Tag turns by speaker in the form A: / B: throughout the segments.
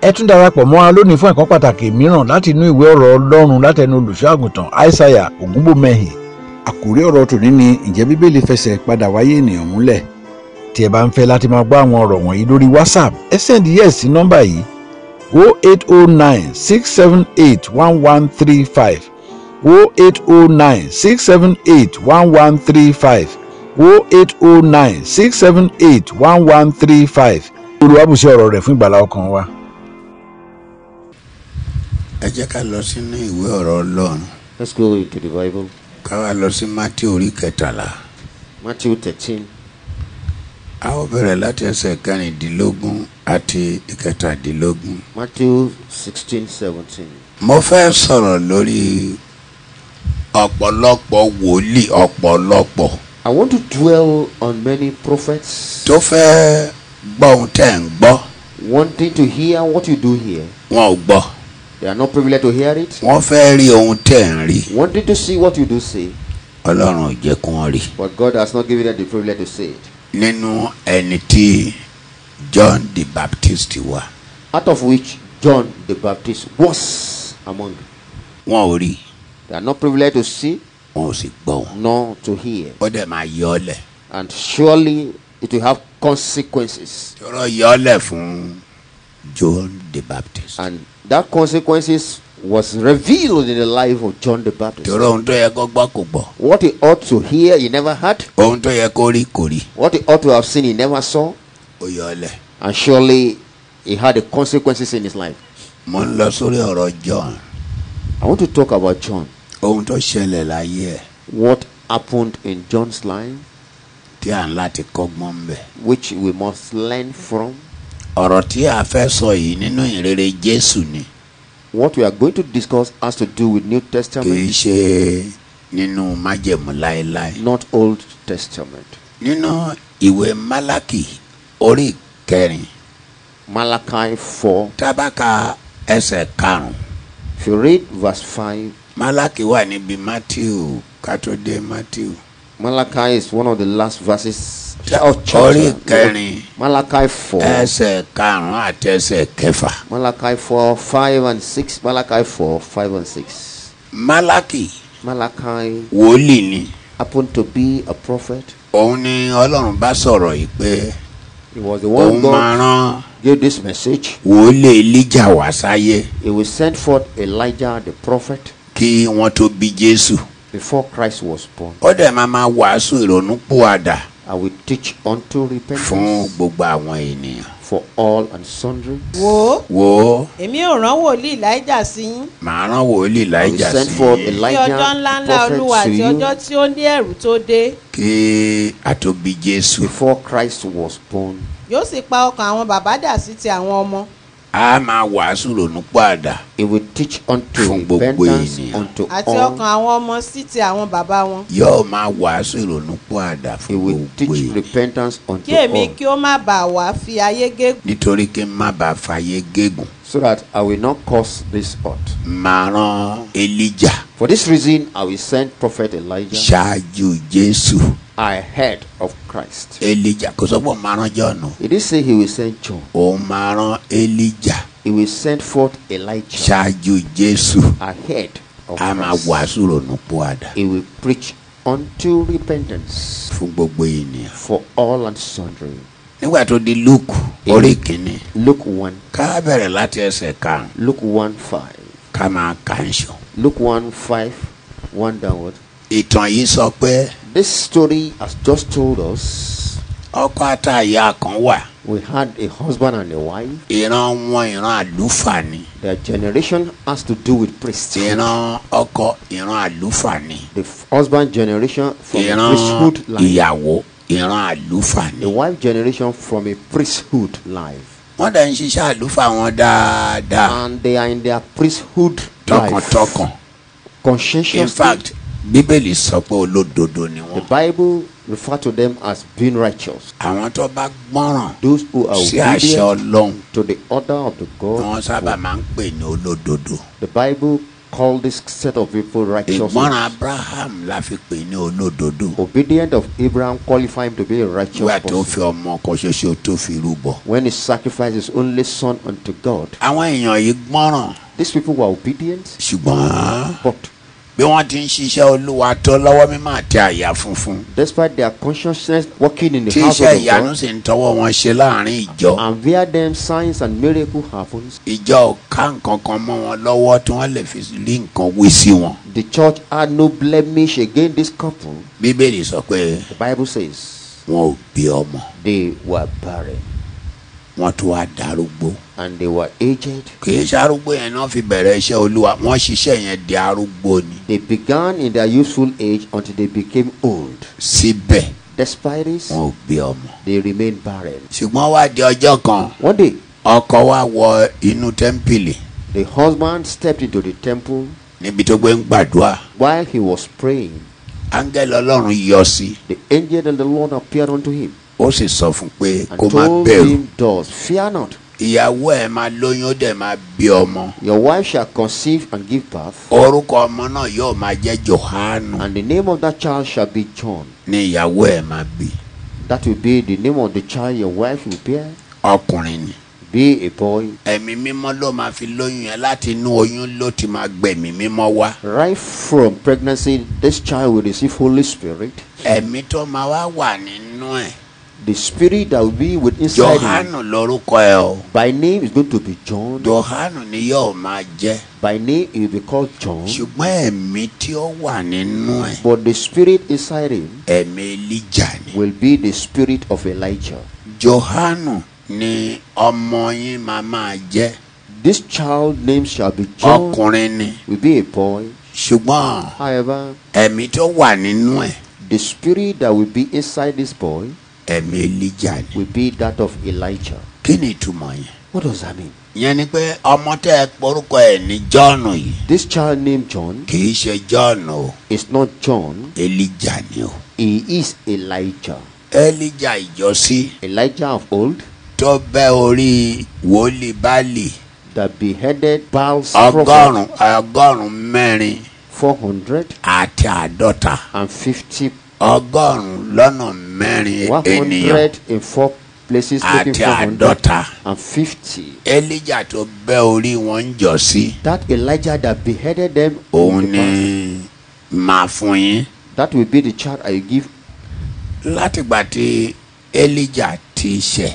A: ẹ tún darapọ̀ mọ́ wa lónìí fún ẹ̀kọ́ pàtàkì mìíràn láti inú ìwé ọ̀rọ̀ ọlọ́run látẹnu olùṣọ́àgùntàn aishaiya ògúnbòmẹ́hìn
B: àkórí ọ̀rọ̀ tòní ni ǹjẹ́ bíbélì fẹsẹ̀ padà wáyé ènìyàn múlẹ̀
A: tí ẹ bá ń fẹ́ láti máa gbọ́ àwọn ọ̀rọ̀ wọ̀nyí lórí whatsapp ẹ sẹ́ndí yẹ̀ sí nọ́mbà yìí 08096781135 08096781135 08096781135 olùwàbùsẹ̀ ọ̀rọ̀ rẹ̀ fún ìgbàlá ọkàn wa.
B: ẹ jẹ́ ká lọ sínú ìwé ọ̀rọ̀ ọlọ́run
C: Let's go into the Bible.
B: ká wá lọ sí mátí orí kẹtàlá
C: Matthew 13.
B: a ó bẹ̀rẹ̀ láti ẹsẹ̀ kẹrìndínlógún àti ìkẹtàdínlógún.
C: Matthew 16, 17.
B: mo fẹ́ sọ̀rọ̀ lórí ọ̀pọ̀lọpọ̀ wòlíì ọ̀pọ̀lọpọ̀
C: I want to dwell on many prophets
B: tó fẹ́ gbọ́ ohun tẹ́ ń gbọ́
C: wanting to hear what you do here.
B: wọn ò gbọ́
C: They are not privileged to hear it.
B: wọ́n fẹ́ rí ohun tẹ́ ń rí
C: Wanting to see what you do say,
B: ọlọ́run ò jẹ́ kí wọ́n rí.
C: but God has not given them the privilege to say it.
B: nínú ẹni tí John the Baptist wà
C: Out of which John the Baptist was among.
B: wọn ò rí
C: They are not privileged to see
B: wọn ò sì gbọ́ wọn.
C: nor to hear.
B: ó dẹ̀ máa yọ ọ́ lẹ̀
C: And surely it will have consequences.
B: tọrọ yọ ọ́ lẹ̀ fún John the Baptist.
C: And that consequences was revealed in the life of John the Baptist.
B: tọrọ ohun tó yẹ kó gbọ́ kò gbọ́
C: What he ought to hear, he never heard.
B: ohun tó yẹ kó rí kò rí
C: What he ought to have seen, he never saw.
B: ó yọ ọ́ lẹ̀.
C: And surely he had the consequences in his life.
B: mo ń lọ sórí ọ̀rọ̀ John
C: I want to talk about John.
B: ohun tó ṣẹlẹ̀ láyé ẹ̀
C: What happened in John's life,
B: tí à ń láti kọ́gbọ́n ń bẹ̀.
C: which we must learn from.
B: ọ̀rọ̀ tí a fẹ́ sọ yìí nínú ìrere Jésù ni
C: What we are going to discuss has to do with New
B: kì í
C: Testament,
B: ṣe nínú májẹ̀mú láéláé.
C: not Old Testament.
B: nínú ìwé Málákì orí kẹrin
C: Malachi 4.
B: tábàkà ẹsẹ̀ karùn-ún
C: If you read verse 5,
B: Málákì wà níbi Matthew kátódé Matthew
C: Malachi is one of the last verses
B: Ta-
C: of
B: orí
C: chapter.
B: kẹrin
C: Malachi 4.
B: ẹsẹ̀ karùn-ún àti ẹsẹ̀ kẹfà.
C: Malachi 4, 5 and 6. Malachi 4, 5 and 6.
B: Málákì
C: Malachi
B: wòlíì ni
C: happened to be a prophet.
B: òun ni Ọlọ́run bá sọ̀rọ̀ yìí pé
C: He was the
B: òun máa
C: one God
B: rán
C: gave this message.
B: wòlíì Èlíjà wá sáyé
C: He will send forth Elijah the prophet
B: kí wọ́n tó bí Jésù.
C: before Christ was born.
B: ó dẹ̀ máa máa wàásù ìrònúpìwàdà
C: I will teach unto
B: fún
C: repentance
B: gbogbo àwọn ènìyàn.
C: for all and sundry.
D: wò ó
B: wo
D: èmi ò rán wòlíì láìjà sí yín
B: màá rán wòlíì
C: I will
B: láìjà
C: send
B: sí
C: forth
B: i
D: ní
C: Elijah
D: ọjọ́ ńláńlá
C: the
D: olúwa
C: prophet
D: àti ọjọ́
C: to you
D: tí ó ní ẹ̀rù tó dé
B: kí a tó bí Jésù.
C: before Christ was born.
D: yóò sì pa ọkàn àwọn bàbá dà sí ti àwọn ọmọ
B: a máa wàásù ìrònúpìwàdà
C: He will teach unto
B: Fún gbogbo
C: repentance
B: ènìyàn.
C: unto
D: àti
C: all.
D: ọkàn àwọn ọmọ sí ti àwọn bàbá wọn
B: yóò máa wàásù ìrònúpìwàdà fún
C: He will
B: gbogbo
C: teach
B: ènìyàn.
C: repentance unto
D: kí èmi
C: all.
D: kí ó má bàa wá fi ayé gégùn
B: nítorí kí n má bàa fàyè gégùn
C: so that I will not cause this earth.
B: máa rán Èlíjà
C: For this reason, I will send prophet Elijah
B: ṣáájú Jésù.
C: ahead of Christ.
B: Èlíjà kò sọ pé òun máa rán Jọ́ọ̀nù
C: He did say he will send John.
B: òun máa rán Èlíjà
C: He will send forth Elijah
B: ṣáájú Jésù.
C: ahead of
B: a máa
C: Christ.
B: wàásù ìrònúpìwàdà
C: He will preach unto repentance
B: fún gbogbo ènìyàn.
C: for all and sundry.
B: nígbà tó di Luke orí kìíní
C: Luke 1,
B: ká bẹ̀rẹ̀ láti ẹsẹ̀ kan
C: Luke 1 5.
B: ká máa kàńṣọ.
C: Luke 1 5, 1 downward.
B: ìtàn yìí sọ pé
C: This story has just told us
B: ọkọ àtàyà kan wà
C: we had a husband and a wife.
B: ìran wọn ìran àlùfáà ni
C: Their generation has to do with priests.
B: ìran ọkọ ìran àlùfáà ni
C: the f- husband generation from a
B: ìran
C: priesthood life,
B: ìyàwó ìran àlùfáà ni.
C: the wife generation from a priesthood life,
B: wọ́n dẹ̀ ń ṣiṣẹ́ àlùfáà wọn dáadáa
C: and they are in their priesthood
B: tọkàntọkàn.
C: life.
B: in
C: Conscientious.
B: fact bíbélì sọ pé olódodo ni
C: the
B: wọ́n.
C: Bible refer to them as being righteous.
B: àwọn tó bá gbọ́ràn
C: Those who are
B: sí àṣẹ
C: obedient
B: ọlọ́run
C: to the order of the
B: ni wọ́n
C: God.
B: sábà máa ń pè ní olódodo.
C: The Bible call this set of people righteous.
B: ìmọ̀ràn abraham la fi pè ní olódodo
C: Obedient of Abraham qualified him to be a righteous
B: nígbà tó
C: person
B: fi ọmọ kan ṣoṣo tó fi rúbọ.
C: when he sacrificed his only son unto God.
B: àwọn èèyàn yìí gbọ́ràn
C: These people were obedient,
B: ṣùgbọ́n
C: but
B: bí wọ́n ti ń ṣiṣẹ́ olúwa tó lọ́wọ́ mímọ́ àti àyà funfun
C: despite their consciousness working in the
B: tí
C: house
B: iṣẹ́
C: of
B: ìyanu
C: God,
B: sì ń tọwọ́ wọn ṣe láàrin ìjọ
C: and via them signs and miracle happens,
B: ìjọ ò ká nǹkan kan mọ́ wọn lọ́wọ́ tí wọ́n lè fi rí nǹkan wí sí wọn.
C: the church had no blemish against this couple.
B: bíbélì sọ pé
C: The Bible says
B: wọn ò bí ọmọ
C: they were barren
B: wọn tó wá darúgbó
C: and they were aged.
B: kì í ṣarúgbó yẹn náà fi bẹ̀rẹ̀ iṣẹ́ olúwa wọ́n ṣiṣẹ́ yẹn di arúgbó ni
C: They began in their youthful age until they became old.
B: síbẹ̀
C: Despite this,
B: wọn ò bí ọmọ.
C: they remained barren.
B: ṣùgbọ́n wá di ọjọ́ kan
C: One day,
B: ọkọ wa wọ inú tẹ́ḿpìlì
C: the husband stepped into the temple
B: níbi tó gbé ń gbàdúrà
C: while he was praying.
B: áńgẹ́lì ọlọ́run yọ sí i,
C: The angel of the Lord appeared unto him
B: ó sì sọ fún un pé
C: and
B: kó má
C: told
B: bẹ̀rù
C: him thus, Fear not,
B: ìyàwó ẹ̀ máa lóyún ó dẹ̀ máa bí ọmọ
C: your wife shall conceive and give birth,
B: orúkọ ọmọ náà yóò máa jẹ́ johanu
C: and the name of that child shall be John.
B: ní ìyàwó ẹ̀ máa bí
C: That will be the name of the child your wife will bear,
B: ọkùnrin ni
C: be a boy.
B: ẹ̀mí mímọ́ ló máa fi lóyún yẹn láti inú oyún ló ti máa gbẹ̀mí mímọ́ wá
C: Right from pregnancy, this child will receive Holy Spirit.
B: ẹ̀mí tó máa wá wà nínú ẹ̀
C: The spirit that will be with inside him
B: johanu lórúkọ ẹ̀ o
C: by name is going to be John.
B: johanu ni yóò máa jẹ́
C: By name he will be called John.
B: ṣùgbọ́n ẹ̀mí tí ó wà nínú ẹ̀
C: But the spirit inside him
B: ẹ̀mí elija ni.
C: will be the spirit of Elijah.
B: johanu ni ọmọ yín máa máa jẹ́
C: This child name shall be John.
B: ọkùnrin ni
C: Will be a boy.
B: ṣùgbọ́n
C: However,
B: ẹ̀mí tó wà nínú ẹ̀
C: the spirit that will be inside this boy
B: ẹ̀mí elija ni.
C: will be that of Elijah.
B: kí ni ìtumọ̀ yẹn.
C: What does that mean?
B: ìyẹn ni pé ọmọ tẹ́ ẹ porúkọ ẹ̀ ní jọ́ọ̀nù yìí
C: This child named John
B: kì í ṣe jọ́ọ̀nù o
C: is not John.
B: elija ni o.
C: He is Elijah.
B: elija ìjọsí
C: Elijah of old
B: tó bẹ́ orí wòlíì báàlì
C: that beheaded Baal's prophet
B: ọgọ́rùn-ún ọgọ́rùn-ún mẹ́rin
C: 400
B: àti àádọ́ta.
C: and 50
B: ọgọ́rùn-ún lọ́nà mẹ́rin ènìyàn
C: 100 in four places taking
B: àti
C: 400
B: àádọ́ta.
C: and 50
B: elija tó bẹ́ orí wọn ń jọ sí
C: that elijah that beheaded them in
B: òun
C: the
B: ni
C: past,
B: màá fún yín.
C: that will be the child i give
B: látìgbà tí elija ti ṣẹ̀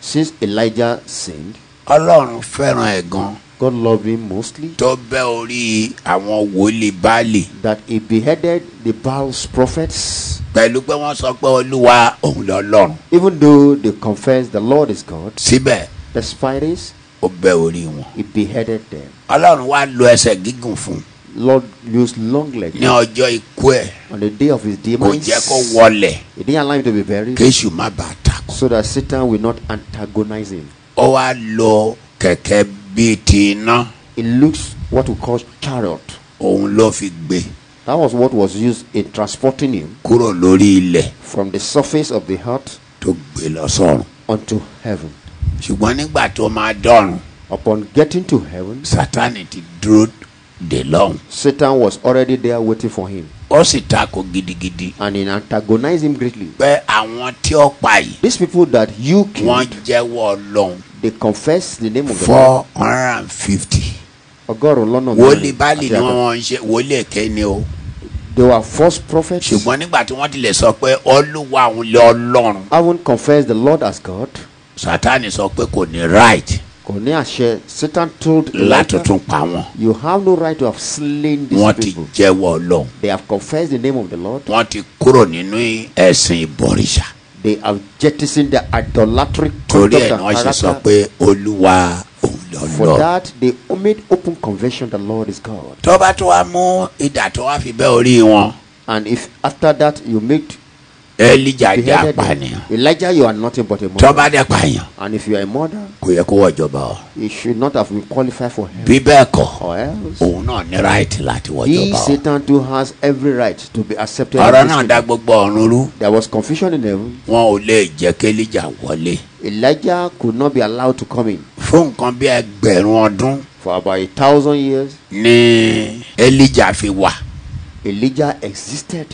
C: since elijah sinned
B: ọlọ́run fẹ́ràn ẹ̀ gan
C: god loved him mostly
B: tó bẹ́ orí àwọn wòlíì báàlì
C: that he beheaded the Baal's prophets
B: pẹ̀lú pé wọ́n sọ pé olúwa òun lọ́lọ́run
C: even though they confessed the lord is god
B: síbẹ̀
C: despite this
B: ó bẹ́ orí wọn.
C: he beheaded them
B: ọlọ́run wá lo ẹsẹ̀ gígùn fún un
C: lord used long legs
B: ní ọjọ́ ikú ẹ̀
C: on the day of his
B: kò
C: demise
B: jẹ́ kó wọlẹ̀
C: he didn't allow him to be buried
B: kéṣù má bàa takò.
C: so that Satan will not antagonize him.
B: ó wá lo kẹ̀kẹ́ bíi ti iná
C: It looks what we call chariot.
B: òun ló fi gbé
C: That was what was used in transporting him
B: kúrò lórí ilẹ̀
C: from the surface of the earth
B: tó gbé lọ sọ́run.
C: unto heaven.
B: ṣùgbọ́n nígbà tó máa dọ́run
C: Upon getting to heaven,
B: sátánì ti dúró dè lọ́hùn.
C: Satan was already there waiting for him
B: ó sì takò gidigidi
C: and he antagonized him greatly.
B: pé àwọn tí ó pa yìí
C: These people that you
B: wọ́n
C: killed,
B: jẹ́wọ́ ọlọ́run
C: they confess the name of the
B: four
C: Lord.
B: hundred and fifty.
C: Ọgọ́rùn-ún lọ́nà
B: wòlíì
C: mẹ́rin
B: báàlì
C: àti
B: ni
C: àtọ̀.
B: wọ́n ń ṣe wòlíì èké ni o
C: They were false prophets.
B: ṣùgbọ́n nígbà tí wọ́n tilẹ̀ sọ pé olúwa òun lé ọlọ́run
C: Haven't confessed the Lord as God.
B: sátánì sọ pé kò ní right
C: Kò ní àṣẹ. Satan told Elijah,
B: látúntún pa wọn
C: You have no right to have slain these
B: wọ́n ti
C: people.
B: jẹ́wọ́ ọlọ́run
C: They have confessed the name of the Lord.
B: wọ́n ti kúrò nínú ẹ̀sìn ìbọ̀rìṣà
C: They have jettisoned their idolatry
B: torí
C: conduct
B: ẹ̀
C: and
B: ni wọ́n ṣe sọ
C: character.
B: pé olúwa òun lé
C: For
B: ọlọ́run.
C: that, they made open confession the Lord is God.
B: tó bá tó wá mú ìdà tó wá fi bẹ́ orí wọn
C: And if after that you make
B: elija jẹ́
C: beheaded
B: apànìyàn
C: them, Elijah, you are nothing but a
B: tó
C: murderer.
B: bá dẹ̀ pààyàn
C: And if you are a murderer,
B: kò yẹ kó wọ ìjọba o
C: you should not have been qualified for hell.
B: bí bẹ́ẹ̀ kọ́
C: Or else,
B: òun náà ní right láti wọ
C: he,
B: ìjọba o
C: Satan, too, has every right to be accepted. in
B: ọ̀rọ̀
C: this
B: náà dá
C: kingdom.
B: gbogbo ọ̀run rú
C: There was confusion in heaven.
B: wọn ò lè jẹ́ kí elija wọlé
C: Elijah could not be allowed to come in.
B: fún nǹkan bí ẹgbẹ̀rún ọdún
C: For about a thousand years,
B: ní elijah fi wà
C: Elijah existed.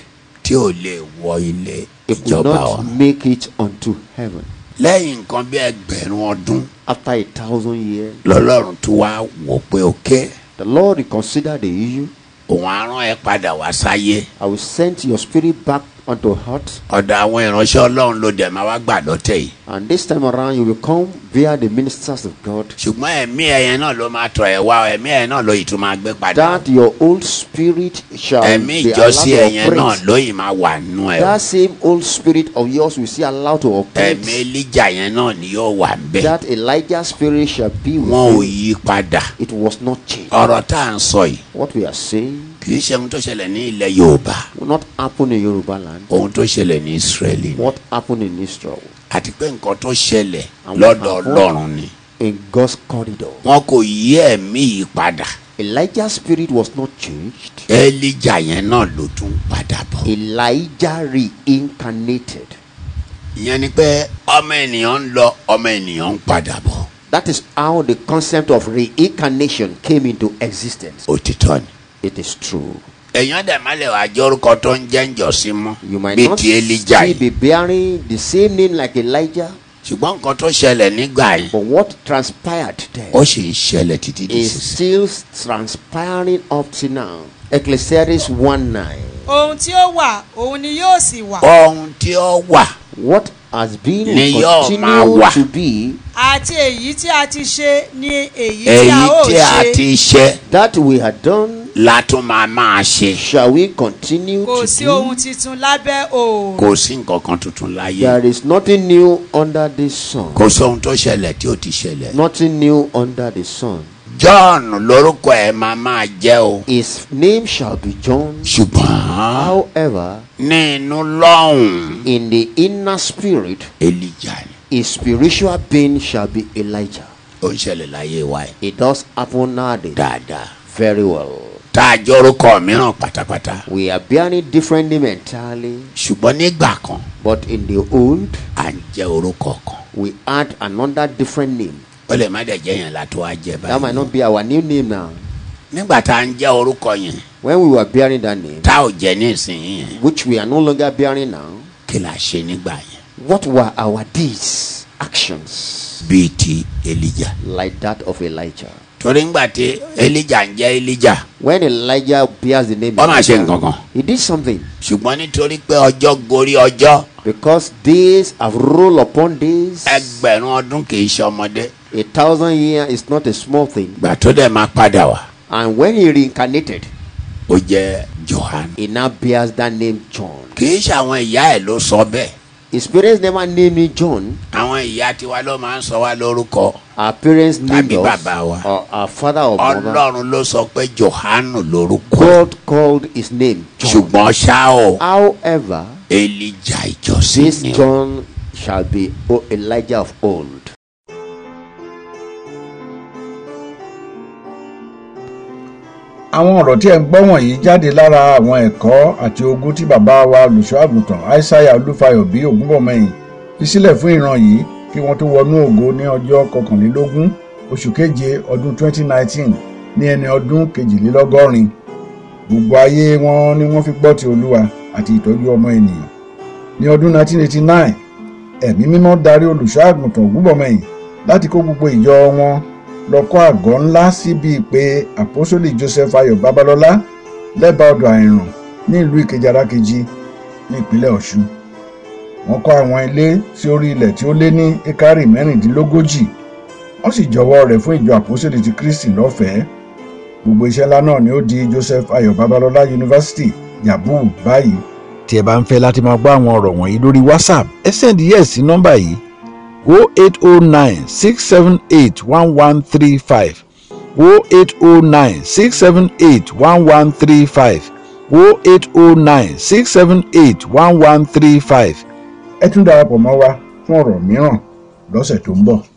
B: tí ò lè wọ ilé
C: He could
B: ìjọba
C: not
B: ọ̀run
C: make it unto heaven.
B: lẹ́yìn nǹkan bí ẹgbẹ̀rún ọdún
C: After a thousand years,
B: lọ́lọ́run tó wá wò pé òkè
C: the Lord reconsidered the issue.
B: òun á rán ẹ padà wá sáyé
C: I will send your spirit back unto heart,
B: ọ̀dọ̀ àwọn ìránṣẹ́ ọlọ́run ló dẹ̀ máa wá gbà lọ́tẹ̀ yìí
C: and this time around you will come via the ministers of God.
B: ṣùgbọ́n ẹ̀mí ẹ̀yẹ náà ló máa tọ̀ ẹ̀ wá ẹ̀mí ẹ̀yẹ náà ló yìí tún máa gbé padà
C: That your old spirit shall
B: ẹ̀mí
C: be allowed
B: ìjọsí
C: to
B: ẹ̀yẹ náà
C: operate.
B: ló yìí máa wà nù ẹ̀ o.
C: That same old spirit of yours will see allowed to operate.
B: ẹ̀mí elija yẹn náà ni yóò wà bẹ́ẹ̀
C: That Elijah's spirit shall be with
B: wọn ò
C: you.
B: yí padà
C: It was not changed.
B: ọ̀rọ̀ tá à ń sọ yìí
C: What we are saying
B: kì í ṣe ohun tó ṣẹlẹ̀ ní ilẹ̀ yorùbá
C: will not happen in Yoruba land.
B: ohun tó ṣẹlẹ̀ ní israẹli ni.
C: What happened in Israel?
B: àti pé nǹkan tó ṣẹlẹ̀
C: Àwọn
B: lọ́dọ̀
C: àbọ̀.
B: ọlọ́run ni
C: In God's corridor.
B: wọn kò yí ẹ̀mí yìí padà
C: Elijah's spirit was not changed.
B: elija yẹn náà ló tún padà bọ̀.
C: Elijah reincarnated.
B: ìyẹn ni pé ọmọ ènìyàn ń lọ ọmọ ènìyàn ń padà bọ̀
C: That is how the concept of reincarnation came into existence.
B: òtítọ́ ni.
C: It is true.
B: èèyàn dẹ̀ má lè wá jẹ́ orúkọ tó ń jẹ́ ǹjọ́sí mọ́
C: You might
B: bíi
C: not
B: ti elija
C: still
B: yìí
C: be bearing the same name like Elijah,
B: ṣùgbọ́n nǹkan tó ṣẹlẹ̀ nígbà yẹn
C: but what transpired there
B: ó sì ń ṣẹlẹ̀ títí di
C: is
B: sísè.
C: still transpiring up to now. Ecclesiastes 1 9.
E: ohun tí ó wà òun ni yóò sì wà
B: ohun tí ó wà
C: What has been
B: Ni
C: will
B: yóò máa
C: continue
B: wà.
C: to be,
E: àti èyí tí a ti ṣe ni èyí tí a
B: èyí
E: ó
B: tí a
E: ṣe
B: ti ṣe
C: that we had done,
B: la tún máa máa ṣe
C: shall we continue
E: kò
C: to
E: sí ohun
C: do?
E: tuntun lábẹ́ òòrùn.
B: kò sí nǹkan kan tuntun láyé
C: There is nothing new under the sun.
B: kò sóhun tó ṣẹlẹ̀ tí ó ti ṣẹlẹ̀.
C: Nothing new under the sun.
B: john lórúkọ ẹ̀ máa máa jẹ́ o
C: His name shall be John.
B: ṣùgbọ́n
C: However,
B: ní inú lọ́hùn-ún
C: in the inner spirit,
B: elija ni
C: a spiritual being shall be Elijah.
B: ó ń ṣẹlẹ̀ láyé wa ẹ̀
C: It does happen nowadays
B: dáadáa
C: very well.
B: tá a jọ orúkọ mìíràn pátápátá
C: We are bearing different name entirely,
B: ṣùgbọ́n nígbà kan
C: but in the old,
B: à ń jẹ́ orúkọ kan
C: we add another different name.
B: ó lè má dẹ̀ jẹ́ yẹn la tó wá jẹ́
C: That
B: báyìí
C: might not be our new name now.
B: nígbà tá a ń jẹ́ orúkọ yẹn
C: When we were bearing that name,
B: tá ò jẹ́ ní ìsinyìí yẹn
C: which we are no longer bearing now,
B: kí la ṣe nígbà yẹn.
C: what were our deeds, actions,
B: bíi ti elija.
C: like that of Elijah?
B: torí ńgbà tí elija ń jẹ́ elija
C: When Elijah bears the name,
B: Ó mà ṣe
C: Elijah,
B: nǹkankan.
C: he did something
B: ṣùgbọ́n nítorí pé ọjọ́ gorí ọjọ́
C: because days have rolled upon days.
B: ẹgbẹ̀rún ọdún kìí ṣe ọmọdé
C: A thousand years is not a small thing.
B: gbà tó dẹ̀ máa padà wá
C: And when he reincarnated,
B: ó jẹ́ johannu.
C: he now bears that name John.
B: kìí ṣe àwọn ìyá ẹ̀ ló sọ bẹ́ẹ̀
C: His parents never named me John.
B: àwọn ìyá tiwa ló máa ń sọ wá lórúkọ
C: Our parents named
B: Tàbí
C: us,
B: bàbá wa.
C: or our father or mother.
B: ọlọ́run ló sọ pé johannu lórúkọ
C: God called his name John.
B: ṣùgbọ́n ṣá o
C: However,
B: elija ìjọsìn
C: this
B: ni o.
C: John shall be O Elijah of old.
A: àwọn ọ̀rọ̀ tí ẹ̀ ń gbọ́ wọ̀nyí jáde lára àwọn ẹ̀kọ́ àti ogun tí bàbá wa olùṣọ́àgùntàn aishaiya olúfayọ bí ògúnbọ̀mọyìn fi sílẹ̀ fún ìran yìí kí wọ́n tó wọnú ògo ní ọjọ́ kọkànlélógún oṣù keje ọdún 2019 ní ẹni ọdún kejìlélọ́gọ́rin gbogbo ayé wọn ni wọ́n fi gbọ́ ti olúwa àti ìtọ́jú ọmọ ènìyàn ní ọdún 1989 ẹ̀mí mímọ́ darí olùṣọ́àgùntàn ògúnbọ̀mọyìn láti kó gbogbo ìjọ wọn lọ kọ́ àgọ́ ńlá síbi ìpè àpọ́sólì joseph ayọ̀ babalọ́lá lẹ́bàá ọ̀dọ̀ àìràn ní ìlú ìkejì arákejì ní ìpínlẹ̀ ọ̀ṣun. wọ́n kọ́ àwọn ilé sí orí ilẹ̀ tí ó lé ní ekari mẹ́rìndínlógójì wọ́n sì jọwọ́ rẹ̀ fún ìjọ àpọ́sólì ti kristi lọ́fẹ̀ẹ́. gbogbo iṣẹ́ ńlá náà ni ó di joseph ayọ̀ babalọ́lá yunifásitì yabu báyìí. tí ẹ bá ń fẹ́ láti máa gbọ́ àwọn ọ̀rọ̀ wọ̀nyí lórí whatsapp ẹ sẹ́ndí yẹ̀ sí nọ́mbà yìí 0809 678 1135 0809 678 1135 0809 678 1135. ẹ tún darapọ̀ mọ́ wa fún ọ̀rọ̀ mìíràn lọ́sẹ̀ tó ń bọ̀.